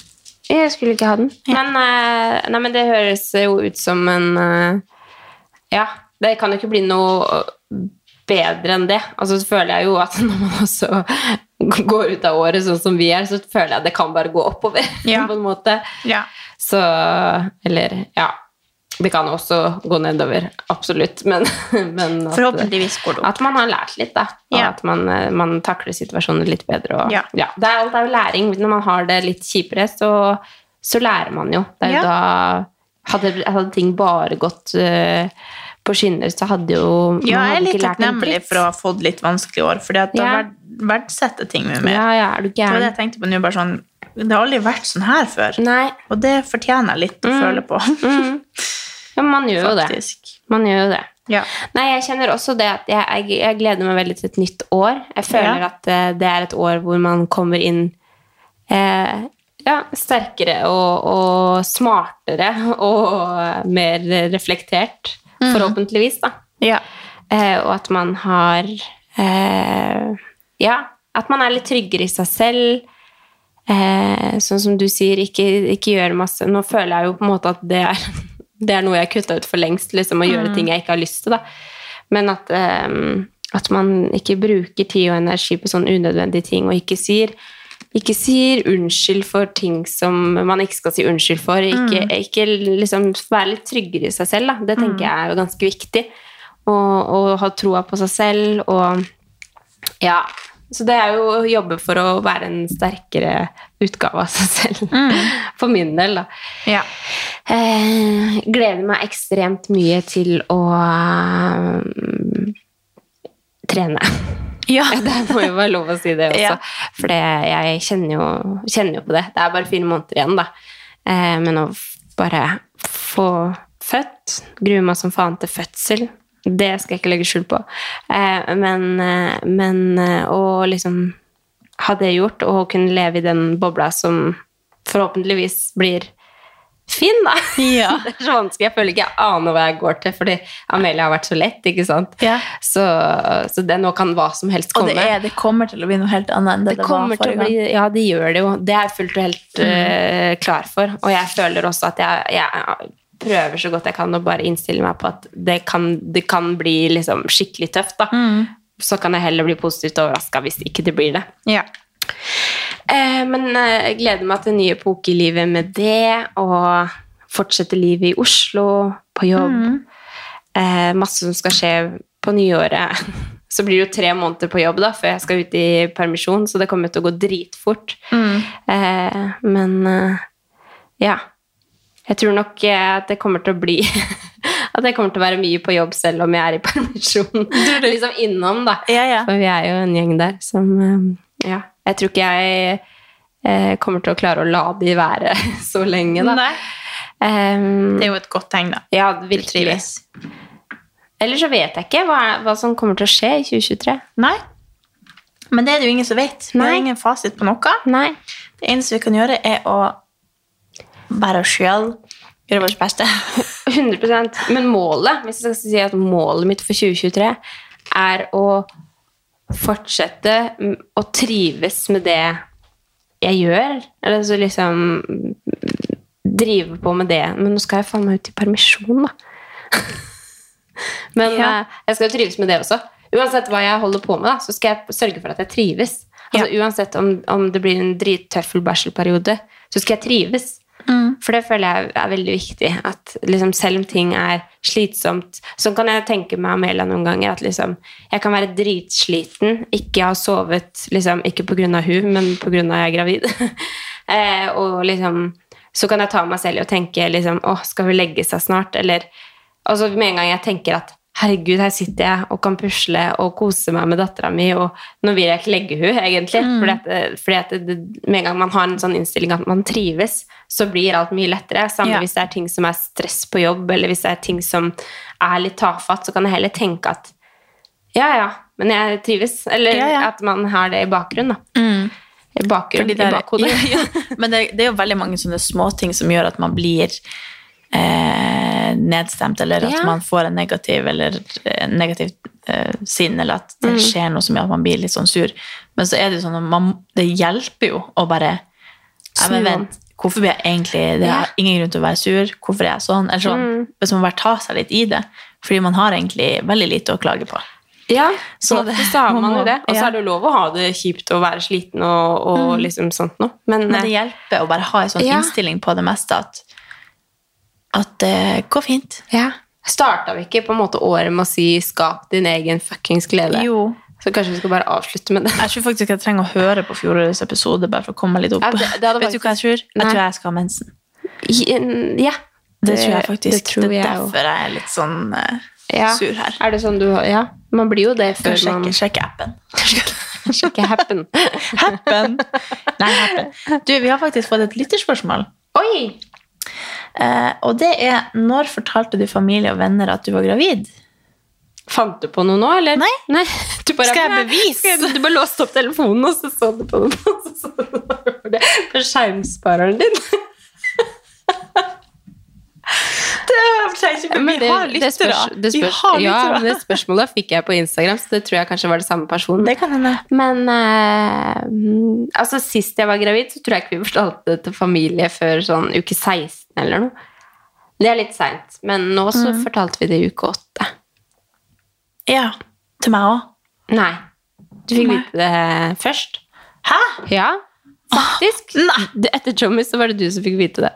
[SPEAKER 1] Jeg skulle ikke ha den. Men, eh, nei, men det høres jo ut som en eh, Ja, det kan jo ikke bli noe eh, bedre enn det. Altså så føler jeg jo at når man også går ut av året sånn som vi er, så føler jeg det kan bare gå oppover.
[SPEAKER 2] Ja.
[SPEAKER 1] på en måte.
[SPEAKER 2] Ja.
[SPEAKER 1] Så Eller ja. Det kan også gå nedover, absolutt, men, men at,
[SPEAKER 2] Forhåpentligvis går det opp.
[SPEAKER 1] at man har lært litt, da. Og
[SPEAKER 2] Ja.
[SPEAKER 1] at man, eh, man takler situasjoner litt bedre. Og,
[SPEAKER 2] Ja.
[SPEAKER 1] Det er, alt er jo læring. Når man har det litt kjipere, så, så lærer man jo. Det er
[SPEAKER 2] Ja.
[SPEAKER 1] jo da hadde, hadde ting bare gått eh, på skinner, så hadde jo man
[SPEAKER 2] Ja, jeg
[SPEAKER 1] hadde
[SPEAKER 2] er
[SPEAKER 1] ikke
[SPEAKER 2] litt
[SPEAKER 1] lært en
[SPEAKER 2] takknemlig
[SPEAKER 1] dritt.
[SPEAKER 2] for å ha fått litt vanskelige år, for da
[SPEAKER 1] Ja.
[SPEAKER 2] verd, verdsetter ting mye mer.
[SPEAKER 1] Ja, ja, er du
[SPEAKER 2] Det var det jeg
[SPEAKER 1] gæren?
[SPEAKER 2] tenkte på nå, bare sånn Det har aldri vært sånn her før, Mm.
[SPEAKER 1] Nei.
[SPEAKER 2] og det fortjener jeg litt å føle på,
[SPEAKER 1] Mm. Ja, men man gjør jo det.
[SPEAKER 2] faktisk.
[SPEAKER 1] Man gjør jo det.
[SPEAKER 2] Ja.
[SPEAKER 1] Nei, jeg kjenner også det at jeg, jeg, jeg gleder meg veldig til et nytt år. Jeg føler
[SPEAKER 2] Ja.
[SPEAKER 1] at eh, det er et år hvor man kommer inn eh, ja, sterkere og, og smartere og mer reflektert,
[SPEAKER 2] Mhm.
[SPEAKER 1] forhåpentligvis, da.
[SPEAKER 2] Ja.
[SPEAKER 1] Eh, og at man har eh, Ja, at man er litt tryggere i seg selv. Eh, sånn som du sier, ikke, ikke gjøre masse Nå føler jeg jo på en måte at det er, det er noe jeg har kutta ut for lengst, liksom, å gjøre ting jeg ikke har lyst til. Da. Men at, eh, at man ikke bruker tid og energi på sånn unødvendige ting, og ikke sier ikke sier unnskyld for ting som man ikke skal si unnskyld for. Ikke, ikke liksom være litt tryggere i seg selv, da. Det tenker jeg er jo ganske viktig. Å å ha troa på seg selv og ja, Så det er jo å jobbe for å være en sterkere utgave av seg selv. For min del, da. Eh, gleder meg ekstremt mye til å eh, trene.
[SPEAKER 2] Ja.
[SPEAKER 1] det må jo være lov å si det også.
[SPEAKER 2] Ja.
[SPEAKER 1] For det- jeg kjenner jo, kjenner jo på det. Det er bare fire måneder igjen, da. Eh, men å f- bare få født Gruer meg som faen til fødsel. Det skal jeg ikke legge skjul på. Eh, men, eh, men eh, å liksom ha det gjort, og kunne leve i den bobla som forhåpentligvis blir fin, da.
[SPEAKER 2] Ja.
[SPEAKER 1] Det er så vanskelig. Jeg føler ikke jeg aner hva jeg går til, fordi Amelia har vært så lett. ikke sant?
[SPEAKER 2] Ja.
[SPEAKER 1] Så, så det, nå kan hva som helst
[SPEAKER 2] Og
[SPEAKER 1] komme.
[SPEAKER 2] det, er, det kommer til å bli noe helt annet enn det
[SPEAKER 1] Det
[SPEAKER 2] det,
[SPEAKER 1] kommer
[SPEAKER 2] var
[SPEAKER 1] til
[SPEAKER 2] forrige
[SPEAKER 1] å
[SPEAKER 2] gang. Mm.
[SPEAKER 1] bli Ja, det gjør det jo. Det er jeg fullt og helt eh, klar for. Og jeg føler også at jeg, jeg prøver så godt jeg kan å bare innstille meg på at det kan, det kan bli liksom skikkelig tøft, da.
[SPEAKER 2] Mm.
[SPEAKER 1] Så kan jeg heller bli positivt overraska hvis ikke det blir det.
[SPEAKER 2] Ja.
[SPEAKER 1] Eh, men eh, jeg gleder meg til en ny epoke i livet med det, og fortsette livet i Oslo, på jobb. Eh, masse som skal skje på nyåret. Så blir det jo tre måneder på jobb da, før jeg skal ut i permisjon, så det kommer til å gå dritfort. Eh, men eh, ja, jeg tror nok eh, at det kommer til å bli at jeg kommer til å være mye på jobb selv om jeg er i permisjon. liksom innom, da.
[SPEAKER 2] Ja, ja.
[SPEAKER 1] For vi er jo en gjeng der som eh, Ja. Jeg tror ikke jeg eh, kommer til å klare å la de være så lenge, da.
[SPEAKER 2] Nei.
[SPEAKER 1] Ehm,
[SPEAKER 2] Det er jo et godt tegn, da.
[SPEAKER 1] ja,
[SPEAKER 2] Du
[SPEAKER 1] virkelig.
[SPEAKER 2] trives.
[SPEAKER 1] Eller så vet jeg ikke hva, hva som kommer til å skje i 2023.
[SPEAKER 2] Nei. Men det er det jo ingen som vet. Det
[SPEAKER 1] Nei.
[SPEAKER 2] er ingen fasit på noe.
[SPEAKER 1] Nei.
[SPEAKER 2] Det eneste vi kan gjøre, er å være oss sjøl, gjøre vårt beste.
[SPEAKER 1] 100 Men målet, hvis jeg skal si at målet mitt for 2023 er å fortsette m- å trives med det jeg gjør. Eller så liksom mm, drive på med det. Men nå skal jeg faen meg ut i permisjon, da. Men
[SPEAKER 2] Ja.
[SPEAKER 1] eh, jeg skal jo trives med det også. Uansett hva jeg holder på med, da, så skal jeg sørge for at jeg trives. Altså, Uansett om, om det blir en drittøffel bachelorperiode, så skal jeg trives. For det føler jeg er veldig viktig. At liksom, selv om ting er slitsomt Sånn kan jeg tenke meg Amelia noen ganger. At liksom, jeg kan være dritsliten, ikke ha sovet liksom, Ikke pga. hun, men pga. jeg er gravid. eh, og liksom Så kan jeg ta meg selv i å tenke liksom, Å, skal hun legge seg snart? Eller og så Altså, med en gang jeg tenker at herregud, her sitter jeg og kan pusle og kose meg med dattera mi, og nå vil jeg ikke legge hun egentlig.
[SPEAKER 2] Mm.
[SPEAKER 1] Fordi at, eh, fordi at det, med en gang man har en sånn innstilling at man trives, så blir alt mye lettere. Samme
[SPEAKER 2] Ja.
[SPEAKER 1] hvis det er ting som er stress på jobb, eller hvis det er ting som er litt tafatt, så kan jeg heller tenke at ja, ja, men jeg trives. Eller
[SPEAKER 2] Ja, ja.
[SPEAKER 1] at man har det i bakgrunnen, da. I
[SPEAKER 2] Fordi
[SPEAKER 1] bakgrunnen,
[SPEAKER 2] det
[SPEAKER 1] i
[SPEAKER 2] er-
[SPEAKER 1] bakhodet.
[SPEAKER 2] Ja, ja. Men det, det er jo veldig mange sånne småting som gjør at man blir eh, nedstemt, eller at
[SPEAKER 1] Ja.
[SPEAKER 2] man får en negativ eller eh, negativt eh, sinn, eller at
[SPEAKER 1] Mm.
[SPEAKER 2] det skjer noe som gjør at man blir litt sånn sur. Men så er det jo sånn at man, det hjelper jo å bare ja, men
[SPEAKER 1] Snu om.
[SPEAKER 2] vent, hvorfor blir jeg egentlig det?
[SPEAKER 1] Ja. Mm.
[SPEAKER 2] er ingen grunn til å være sur. Hvorfor er jeg sånn? Eller sånn. Hvis man bare tar seg litt i det. Fordi man har egentlig veldig lite å klage på.
[SPEAKER 1] Ja,
[SPEAKER 2] Så
[SPEAKER 1] så
[SPEAKER 2] det-
[SPEAKER 1] ofte så har man jo det. Og
[SPEAKER 2] Ja.
[SPEAKER 1] så
[SPEAKER 2] Mm.
[SPEAKER 1] er det jo lov å ha det kjipt og være sliten og, og liksom sånt noe. Men,
[SPEAKER 2] Men det hjelper å bare ha en sånn
[SPEAKER 1] Ja.
[SPEAKER 2] innstilling på det meste at, at det går fint.
[SPEAKER 1] ja. starta vi ikke på en måte året med å si 'skap din egen fuckings glede'?
[SPEAKER 2] Jo.
[SPEAKER 1] Så kanskje vi skal bare avslutte med det.
[SPEAKER 2] Jeg tror faktisk jeg trenger å høre på fjorårets episode bare for å komme meg litt opp.
[SPEAKER 1] Ja, det- det hadde
[SPEAKER 2] Vet du hva jeg tror? Jeg
[SPEAKER 1] Nei.
[SPEAKER 2] tror jeg skal ha mensen.
[SPEAKER 1] Ja.
[SPEAKER 2] Det, tror jeg faktisk.
[SPEAKER 1] Det tror
[SPEAKER 2] er
[SPEAKER 1] jeg også.
[SPEAKER 2] derfor jeg er litt sånn eh,
[SPEAKER 1] Ja.
[SPEAKER 2] sur her.
[SPEAKER 1] Er det sånn du Ja, man blir jo det
[SPEAKER 2] Skal
[SPEAKER 1] før
[SPEAKER 2] sjekke,
[SPEAKER 1] man
[SPEAKER 2] sjekke appen.
[SPEAKER 1] sjekker happen.
[SPEAKER 2] Happen? Nei, happen. Du, vi har faktisk fått et lytterspørsmål.
[SPEAKER 1] Oi!
[SPEAKER 2] Eh, og det er når fortalte du familie og venner at du var gravid?
[SPEAKER 1] Fant du på noe nå, eller?
[SPEAKER 2] Nei.
[SPEAKER 1] Du bare,
[SPEAKER 2] Skal jeg bevise?
[SPEAKER 1] Skal jeg- Du bare låste opp telefonen, og så så du på den. og så så du på det På skjermspareren din. Men det, det, spørs, det, spørs, ja, men det spørsmålet fikk jeg på Instagram, så det tror jeg kanskje var det samme personen.
[SPEAKER 2] Det kan hende.
[SPEAKER 1] Men eh, mm, altså, sist jeg var gravid, så tror jeg ikke vi fortalte det til familie før sånn uke 16 eller noe. Det er litt seint, men nå så fortalte vi det i uke 8.
[SPEAKER 2] Ja. Til meg òg.
[SPEAKER 1] Nei. Du fikk
[SPEAKER 2] Nei.
[SPEAKER 1] vite det eh, først.
[SPEAKER 2] Hæ?
[SPEAKER 1] Ja, faktisk.
[SPEAKER 2] Nei.
[SPEAKER 1] Det- Etter Jommy så var det du som fikk vite det.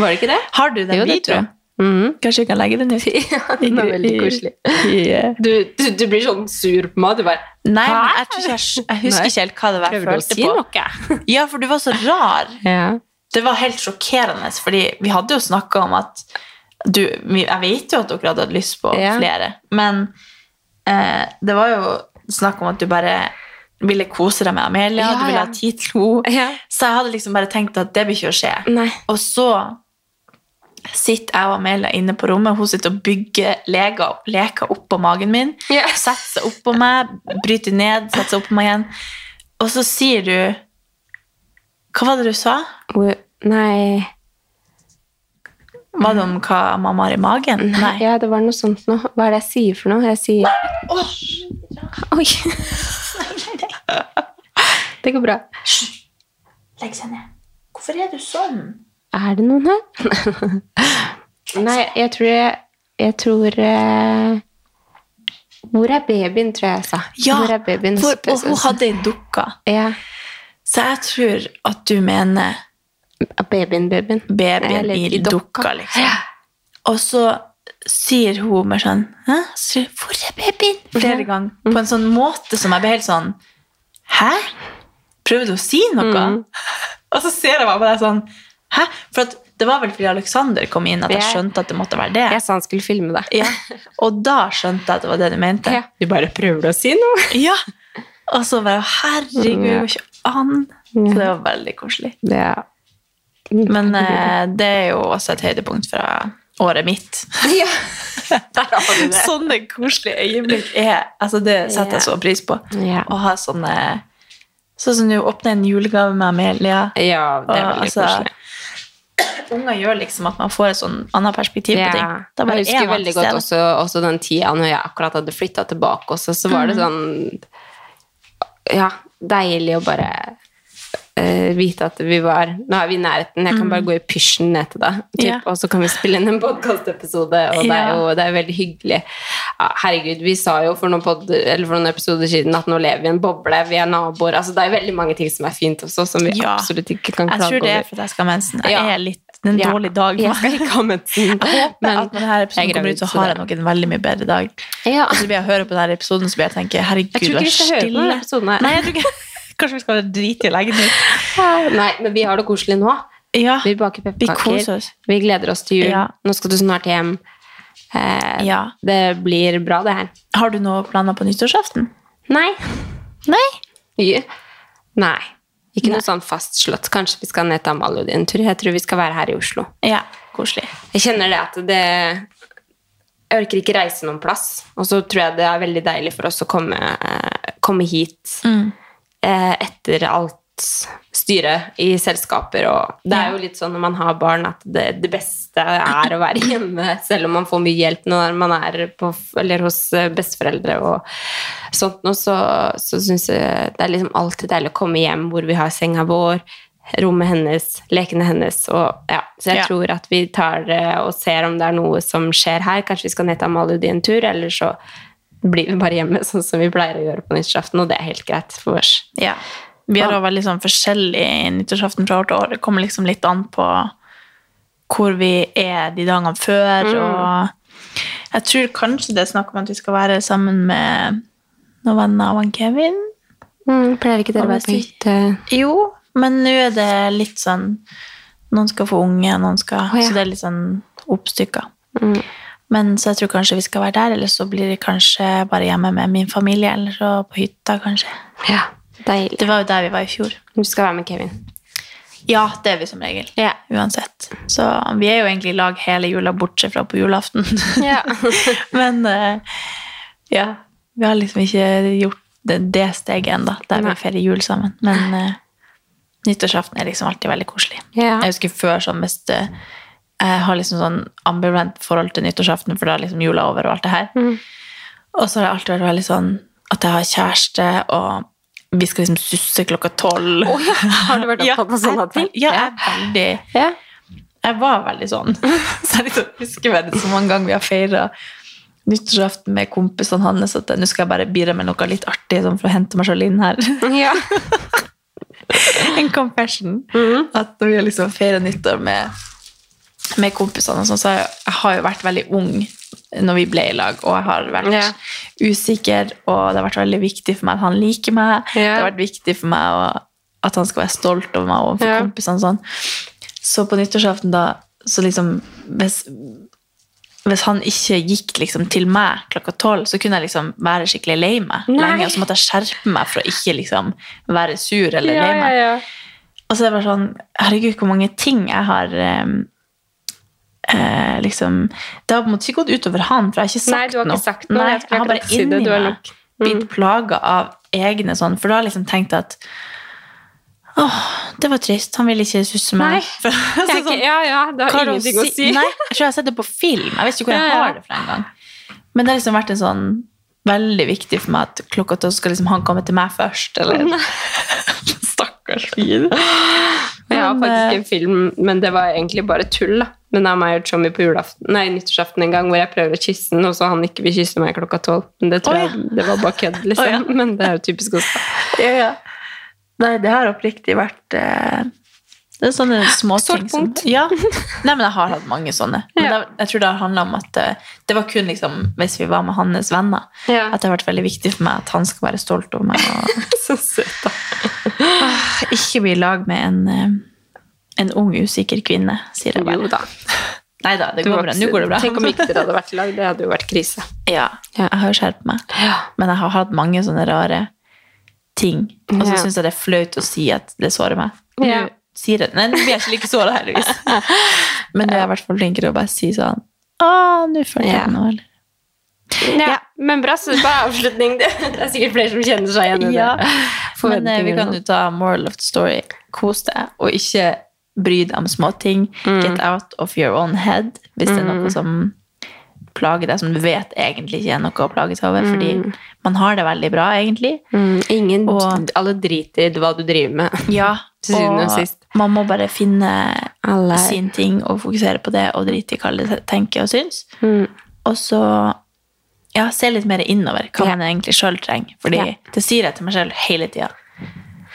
[SPEAKER 1] var det ikke det?
[SPEAKER 2] Har du den
[SPEAKER 1] Jo, det Mm. tror
[SPEAKER 2] videoen?
[SPEAKER 1] jeg.
[SPEAKER 2] Kanskje jeg kan legge den ut?
[SPEAKER 1] Den var veldig koselig. Du, du, du blir sånn sur på meg. Du bare
[SPEAKER 2] eh, Nei,
[SPEAKER 1] Hæ?
[SPEAKER 2] men jeg, tror ikke jeg, sk- jeg husker
[SPEAKER 1] Nei.
[SPEAKER 2] ikke helt hva det var jeg
[SPEAKER 1] Prøver du å
[SPEAKER 2] følte
[SPEAKER 1] si
[SPEAKER 2] på.
[SPEAKER 1] noe?
[SPEAKER 2] Ja, for du var så rar.
[SPEAKER 1] Ja.
[SPEAKER 2] Det var helt sjokkerende, fordi vi hadde jo snakka om at du, vi- Jeg vet jo at dere hadde hatt lyst på
[SPEAKER 1] Ja.
[SPEAKER 2] flere, men eh, det var jo snakk om at du bare ville kose deg med Amelia,
[SPEAKER 1] Ja,
[SPEAKER 2] du ville
[SPEAKER 1] ja.
[SPEAKER 2] ha tid til henne.
[SPEAKER 1] Ja.
[SPEAKER 2] Så jeg hadde liksom bare tenkt at det blir ikke å skje.
[SPEAKER 1] Nei.
[SPEAKER 2] Og så sitter jeg og Amelia inne på rommet, hun sitter og bygger leker, leker opp på magen min,
[SPEAKER 1] Ja.
[SPEAKER 2] setter seg opp på meg, bryter ned, setter seg opp på meg igjen. Og så sier du Hva var det du sa?
[SPEAKER 1] Nei.
[SPEAKER 2] Var det om hva mamma har i magen? Nei.
[SPEAKER 1] Ja, det var noe sånt nå. Hva er det jeg sier for noe? Jeg sier Oi. Det går bra.
[SPEAKER 2] Legg seg ned. Hvorfor er du sånn?
[SPEAKER 1] Er det noen her? Nei, jeg tror jeg, jeg tror eh, Hvor er babyen, tror jeg jeg sa.
[SPEAKER 2] Ja,
[SPEAKER 1] hvor er babyen?
[SPEAKER 2] For, og hun hadde ei dukke.
[SPEAKER 1] ja,
[SPEAKER 2] Så jeg tror at du mener
[SPEAKER 1] babyen, babyen.
[SPEAKER 2] babyen
[SPEAKER 1] Eller
[SPEAKER 2] i
[SPEAKER 1] i dokka.
[SPEAKER 2] dokka, liksom. Og så sier hun mer sånn Hæ? Så sier hun, 'Hvor er babyen?' flere ganger. På en sånn måte som jeg ble helt sånn Hæ? Prøver du å si noe?
[SPEAKER 1] Mm.
[SPEAKER 2] Og så ser jeg meg på deg sånn Hæ? For at det var vel fordi Alexander kom inn at jeg
[SPEAKER 1] Jeg-
[SPEAKER 2] skjønte at det måtte være det.
[SPEAKER 1] Jeg sa han skulle filme det.
[SPEAKER 2] Ja. Og da skjønte jeg at det var det du mente.
[SPEAKER 1] Ja. Du bare prøver å si noe?
[SPEAKER 2] Ja. Og så bare Herregud, det
[SPEAKER 1] Ja.
[SPEAKER 2] går ikke an. Så det var veldig koselig.
[SPEAKER 1] Ja.
[SPEAKER 2] Men eh, det er jo også et høydepunkt fra året mitt. Sånne koselige øyeblikk er altså Det setter jeg så pris på.
[SPEAKER 1] Ja.
[SPEAKER 2] Å ha sånne Sånn som du åpner en julegave med Amelia.
[SPEAKER 1] ja, det er veldig
[SPEAKER 2] altså,
[SPEAKER 1] koselig.
[SPEAKER 2] Unger gjør liksom at man får et sånn annet perspektiv på ting. Da bare
[SPEAKER 1] jeg
[SPEAKER 2] er
[SPEAKER 1] husker
[SPEAKER 2] man
[SPEAKER 1] veldig
[SPEAKER 2] til
[SPEAKER 1] godt
[SPEAKER 2] stede.
[SPEAKER 1] også, også den tida når jeg akkurat hadde flytta tilbake også, så var det
[SPEAKER 2] Mm.
[SPEAKER 1] sånn Ja, deilig å bare eh, vite at vi var Nå er vi i nærheten, jeg kan bare gå i pysjen ned til deg, typ,
[SPEAKER 2] Mm. Ja.
[SPEAKER 1] og så kan vi spille inn en podkastepisode, og det er
[SPEAKER 2] Ja.
[SPEAKER 1] jo det er veldig hyggelig. Ja, herregud, vi sa jo for noen, pod, eller for noen episoder siden at nå lever vi i en boble, vi er naboer altså Det er veldig mange ting som er fint også, som vi
[SPEAKER 2] Ja.
[SPEAKER 1] absolutt ikke kan
[SPEAKER 2] Jeg
[SPEAKER 1] klage
[SPEAKER 2] tror det er
[SPEAKER 1] over.
[SPEAKER 2] fordi jeg skal ha mensen. Jeg
[SPEAKER 1] Ja.
[SPEAKER 2] er litt, det er en
[SPEAKER 1] Ja.
[SPEAKER 2] dårlig dag.
[SPEAKER 1] Jeg skal ikke ha mensen.
[SPEAKER 2] Jeg håper
[SPEAKER 1] men-
[SPEAKER 2] at når denne episoden
[SPEAKER 1] Jeg er
[SPEAKER 2] kommer
[SPEAKER 1] gravid,
[SPEAKER 2] ut, så
[SPEAKER 1] så
[SPEAKER 2] har jeg
[SPEAKER 1] det-
[SPEAKER 2] nok en veldig mye bedre dag.
[SPEAKER 1] Ja.
[SPEAKER 2] Og så blir jeg høre på denne episoden, så blir jeg tenke, herregud,
[SPEAKER 1] Jeg tror ikke vi skal høre på denne episoden her.
[SPEAKER 2] Nei, jeg tror ikke. Kanskje vi skal drite i å legge den ut.
[SPEAKER 1] Nei, men vi har det koselig nå.
[SPEAKER 2] Ja,
[SPEAKER 1] Vi baker
[SPEAKER 2] vi koser
[SPEAKER 1] pepperkaker.
[SPEAKER 2] oss.
[SPEAKER 1] Vi gleder oss til jul.
[SPEAKER 2] Ja.
[SPEAKER 1] Nå skal du snart hjem. Eh,
[SPEAKER 2] Ja.
[SPEAKER 1] Det blir bra, det her.
[SPEAKER 2] Har du noe planer på nyttårsaften?
[SPEAKER 1] Nei.
[SPEAKER 2] Nei.
[SPEAKER 1] Ja. Nei. Ikke noe sånn fastslått. Kanskje vi skal ned til Amalie en tur. Jeg tror vi skal være her i Oslo.
[SPEAKER 2] Ja, koselig.
[SPEAKER 1] Jeg kjenner det at det Jeg orker ikke reise noen plass. Og så tror jeg det er veldig deilig for oss å komme, eh, komme hit
[SPEAKER 2] Mm.
[SPEAKER 1] eh, etter alt styret i selskaper. Og det er jo litt sånn når man har barn, at det, det beste er å være hjemme, selv om man får mye hjelp når man er på, eller hos eh, besteforeldre og sånt noe. Så, så syns jeg det er liksom alltid deilig å komme hjem hvor vi har senga vår. Rommet hennes, lekene hennes og, ja. Så jeg
[SPEAKER 2] Ja.
[SPEAKER 1] tror at vi tar eh, og ser om det er noe som skjer her. Kanskje vi skal ned til Amalie en tur, eller så blir vi bare hjemme sånn som vi pleier å gjøre på nyttårsaften, og det er helt greit for oss.
[SPEAKER 2] Ja. Vi har også veldig sånn forskjellig nyttårsaften fra år til år. Det kommer liksom litt an på hvor vi er de dagene før, og jeg tror kanskje det er snakk om at vi skal være sammen med noen venner av han Kevin.
[SPEAKER 1] Mm, pleier ikke dere å være på hytte?
[SPEAKER 2] Jo, men nå er det litt sånn Noen skal få unge, noen skal
[SPEAKER 1] Å, ja. Mm.
[SPEAKER 2] Så det er litt sånn oppstykka. Men så jeg tror kanskje vi skal være der, eller så blir det kanskje bare hjemme med min familie, eller så på hytta, kanskje.
[SPEAKER 1] Ja, deilig.
[SPEAKER 2] Det var jo der vi var i fjor.
[SPEAKER 1] Du skal være med Kevin.
[SPEAKER 2] Ja, det er vi som regel.
[SPEAKER 1] Ja.
[SPEAKER 2] Uansett. Så vi er jo egentlig i lag hele jula, bortsett fra på julaften.
[SPEAKER 1] Ja.
[SPEAKER 2] men eh, ja, vi har liksom ikke gjort det, det steget ennå, der
[SPEAKER 1] Nei.
[SPEAKER 2] vi feirer jul sammen. Men eh, nyttårsaften er liksom alltid veldig koselig.
[SPEAKER 1] Ja.
[SPEAKER 2] Jeg husker før sånn hvis det, jeg har liksom sånn ambivalent forhold til nyttårsaften, for da er liksom jula over og alt det her.
[SPEAKER 1] Mm.
[SPEAKER 2] Og så har det alltid vært veldig sånn at jeg har kjæreste, og vi skal liksom susse klokka tolv.
[SPEAKER 1] Har du vært
[SPEAKER 2] Ja,
[SPEAKER 1] opptatt av sånne
[SPEAKER 2] jeg-
[SPEAKER 1] ting?
[SPEAKER 2] Ja, jeg er veldig...
[SPEAKER 1] Ja.
[SPEAKER 2] Jeg var veldig sånn. Så jeg liksom husker bare det så mange ganger vi har feira nyttårsaften med kompisene hans at nå skal jeg bare bidra med noe litt artig sånn for å hente meg selv inn her.
[SPEAKER 1] Ja. Mm-hmm.
[SPEAKER 2] en confession. At når vi har liksom feira nyttår med med kompisene, og sånn, så har jeg, jeg har jo vært veldig ung når vi ble i lag, og jeg har vært
[SPEAKER 1] Ja.
[SPEAKER 2] usikker, og det har vært veldig viktig for meg at han liker meg. Det har vært viktig for meg å, at han skal være stolt over meg overfor
[SPEAKER 1] Ja.
[SPEAKER 2] kompisene. og Sånn. Så på nyttårsaften, da, så liksom hvis, hvis han ikke gikk liksom til meg klokka tolv, så kunne jeg liksom være skikkelig lei meg lenge, og så måtte jeg skjerpe meg for å ikke liksom være sur eller lei meg. Og så er det bare sånn Herregud, hvor mange ting jeg har eh, eh, liksom Det har på en måte ikke gått utover han, for jeg har ikke sagt
[SPEAKER 1] Nei, du har ikke
[SPEAKER 2] noe.
[SPEAKER 1] sagt noe.
[SPEAKER 2] Nei,
[SPEAKER 1] Jeg skulle
[SPEAKER 2] jeg har
[SPEAKER 1] akkurat
[SPEAKER 2] bare
[SPEAKER 1] si det.
[SPEAKER 2] inni
[SPEAKER 1] Du er
[SPEAKER 2] meg
[SPEAKER 1] nok. mm.
[SPEAKER 2] blitt plaga av egne sånn, for da har jeg liksom tenkt at Åh, det var trist. Han ville ikke susse meg.
[SPEAKER 1] Nei.
[SPEAKER 2] For,
[SPEAKER 1] Jeg er
[SPEAKER 2] sånn,
[SPEAKER 1] ikke, ja, ja, det
[SPEAKER 2] hva
[SPEAKER 1] har
[SPEAKER 2] hun
[SPEAKER 1] ingenting å si.
[SPEAKER 2] Nei, jeg tror jeg har sett det på film. Jeg visste ikke hvor jeg
[SPEAKER 1] Ja, ja.
[SPEAKER 2] har det fra engang. Men det har liksom vært en sånn veldig viktig for meg at klokka tolv skal liksom han komme til meg først, eller Stakkars fyr.
[SPEAKER 1] Jeg har
[SPEAKER 2] Men, eh,
[SPEAKER 1] faktisk en film, men det var egentlig bare tull. da. Men det er meg og Tommy på julaften, nei, nyttårsaften en gang hvor jeg prøver å kysse han, og så han ikke vil kysse meg klokka tolv. Men det tror
[SPEAKER 2] Å, ja.
[SPEAKER 1] jeg det var bare kødd, liksom.
[SPEAKER 2] Å, ja.
[SPEAKER 1] Men det er jo typisk oss. da.
[SPEAKER 2] Ja, ja. Nei, det har oppriktig vært eh, Det er sånne småting
[SPEAKER 1] Sårt
[SPEAKER 2] som
[SPEAKER 1] punkt.
[SPEAKER 2] ja. Nei, men jeg har hatt mange sånne. Men
[SPEAKER 1] Ja.
[SPEAKER 2] det, jeg tror det har handla om at eh, det var kun liksom, hvis vi var med hans venner,
[SPEAKER 1] Ja.
[SPEAKER 2] at det har vært veldig viktig for meg at han skal være stolt over meg og Ah,
[SPEAKER 1] Så søt, da.
[SPEAKER 2] ikke bli i lag med en, eh, en ung, usikker kvinne, sier jeg
[SPEAKER 1] Jo
[SPEAKER 2] bare.
[SPEAKER 1] da.
[SPEAKER 2] Nei da, det
[SPEAKER 1] Du
[SPEAKER 2] går
[SPEAKER 1] var
[SPEAKER 2] bra.
[SPEAKER 1] ikke-
[SPEAKER 2] Nå går det bra.
[SPEAKER 1] Tenk om ikke dere hadde vært i lag, det hadde jo vært krise.
[SPEAKER 2] Ja,
[SPEAKER 1] Ja.
[SPEAKER 2] jeg har jo skjerpet meg. Men jeg har hatt mange sånne rare ting. Og så
[SPEAKER 1] Ja.
[SPEAKER 2] syns jeg det er flaut å si at det sårer meg. Nå
[SPEAKER 1] Ja.
[SPEAKER 2] sier jeg Nei, nå blir jeg ikke like såra, heldigvis. Men jeg er i hvert fall flinkere å bare si sånn Å, nå følte
[SPEAKER 1] Ja.
[SPEAKER 2] jeg noe, eller
[SPEAKER 1] Ja. Men bra, så bare avslutning. Det det er sikkert flere som kjenner seg igjen i det.
[SPEAKER 2] Ja. Men eh, vi
[SPEAKER 1] Forventninger
[SPEAKER 2] kan
[SPEAKER 1] og
[SPEAKER 2] jo ta moral of the story. Kos deg, og ikke bry deg om småting.
[SPEAKER 1] Mm.
[SPEAKER 2] Get out of your own head hvis det er noe som plager deg, som du vet egentlig ikke er noe å plage seg over. Fordi man har det veldig bra, egentlig.
[SPEAKER 1] Mm, ingen,
[SPEAKER 2] Og-
[SPEAKER 1] alle driter i hva du driver med.
[SPEAKER 2] Ja,
[SPEAKER 1] Til syvende og sist.
[SPEAKER 2] man må bare finne
[SPEAKER 1] Alle er-
[SPEAKER 2] sin ting og fokusere på det og drite i hva alle tenker og syns.
[SPEAKER 1] Mm,
[SPEAKER 2] Og så ja, se litt mer innover hva man egentlig sjøl trenger. Fordi
[SPEAKER 1] Ja.
[SPEAKER 2] det sier jeg til meg sjøl hele tida.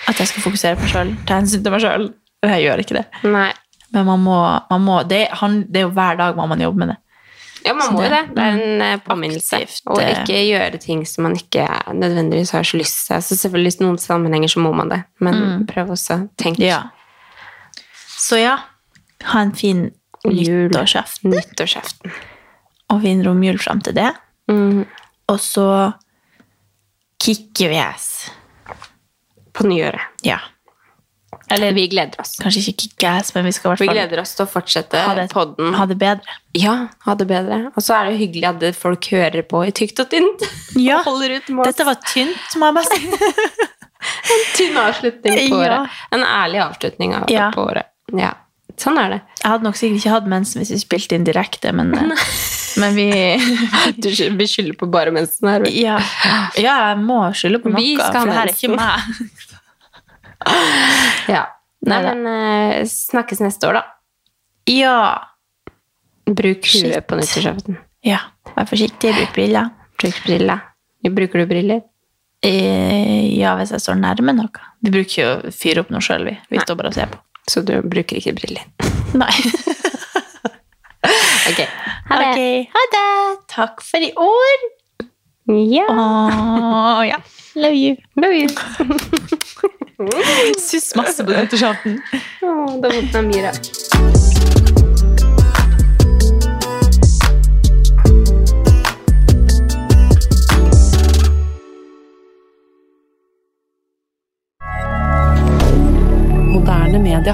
[SPEAKER 2] At jeg skal fokusere på meg sjøl, ta hensyn til meg sjøl. Og jeg gjør ikke det.
[SPEAKER 1] Nei.
[SPEAKER 2] Men man må, man må det, han, det er jo hver dag må man jobbe med det.
[SPEAKER 1] Ja, man
[SPEAKER 2] Så
[SPEAKER 1] må jo det.
[SPEAKER 2] det-
[SPEAKER 1] Det er en eh, påminnelse.
[SPEAKER 2] Aktivt,
[SPEAKER 1] Og
[SPEAKER 2] eh,
[SPEAKER 1] ikke gjøre ting som man ikke nødvendigvis har så lyst til. Så selvfølgelig i noen sammenhenger så må man det, men prøv også å tenke
[SPEAKER 2] Mm. Ja. Så ja, ha en fin
[SPEAKER 1] Jul.
[SPEAKER 2] nyttårsaften.
[SPEAKER 1] nyttårsaften.
[SPEAKER 2] og fin romjul fram til det.
[SPEAKER 1] Mm.
[SPEAKER 2] Og så kicker vi ass.
[SPEAKER 1] På nyåret.
[SPEAKER 2] Ja.
[SPEAKER 1] Eller vi gleder oss.
[SPEAKER 2] Kanskje ikke kick ass, men vi skal i hvert
[SPEAKER 1] Vi
[SPEAKER 2] fall
[SPEAKER 1] gleder oss til å fortsette
[SPEAKER 2] ha det,
[SPEAKER 1] podden.
[SPEAKER 2] ha det bedre.
[SPEAKER 1] Ja, ha det bedre. Og så er det jo hyggelig at det folk hører på i tykt og tynt.
[SPEAKER 2] Ja.
[SPEAKER 1] Og holder ut med oss.
[SPEAKER 2] Dette var tynt, må jeg bare si.
[SPEAKER 1] Tynn avslutning på
[SPEAKER 2] Ja.
[SPEAKER 1] året. En ærlig avslutning av,
[SPEAKER 2] Ja.
[SPEAKER 1] på året. Ja. Sånn er det.
[SPEAKER 2] Jeg hadde nok sikkert ikke hatt mensen hvis vi spilte inn direkte, men, eh, men vi
[SPEAKER 1] Du skyld- vi skylder på bare mensen her. vel?
[SPEAKER 2] ja. ja, jeg må skylde på noe,
[SPEAKER 1] Vi skal
[SPEAKER 2] for
[SPEAKER 1] ha
[SPEAKER 2] det her er
[SPEAKER 1] mensen.
[SPEAKER 2] ikke meg.
[SPEAKER 1] Ja. Nei,
[SPEAKER 2] Neida.
[SPEAKER 1] men eh, snakkes neste år, da.
[SPEAKER 2] Ja.
[SPEAKER 1] Bruk huet
[SPEAKER 2] Shit.
[SPEAKER 1] på nyttårsaften.
[SPEAKER 2] ja. Vær forsiktig, bruk briller.
[SPEAKER 1] Bruk briller. Bruker du briller?
[SPEAKER 2] Eh, Ja, hvis jeg står nærme noe. Vi bruker jo å fyre opp noe sjøl, vi. Vi står bare og ser på.
[SPEAKER 1] Så du bruker ikke briller.
[SPEAKER 2] Nei.
[SPEAKER 1] Ok. Ha det.
[SPEAKER 2] Ok, ha det. Takk for i år.
[SPEAKER 1] Ja.
[SPEAKER 2] Åh, ja. Love you.
[SPEAKER 1] Love you.
[SPEAKER 2] Syns masse på nyttårsaften.
[SPEAKER 1] Åh, det er vondt med Mira.
[SPEAKER 3] Moderne media.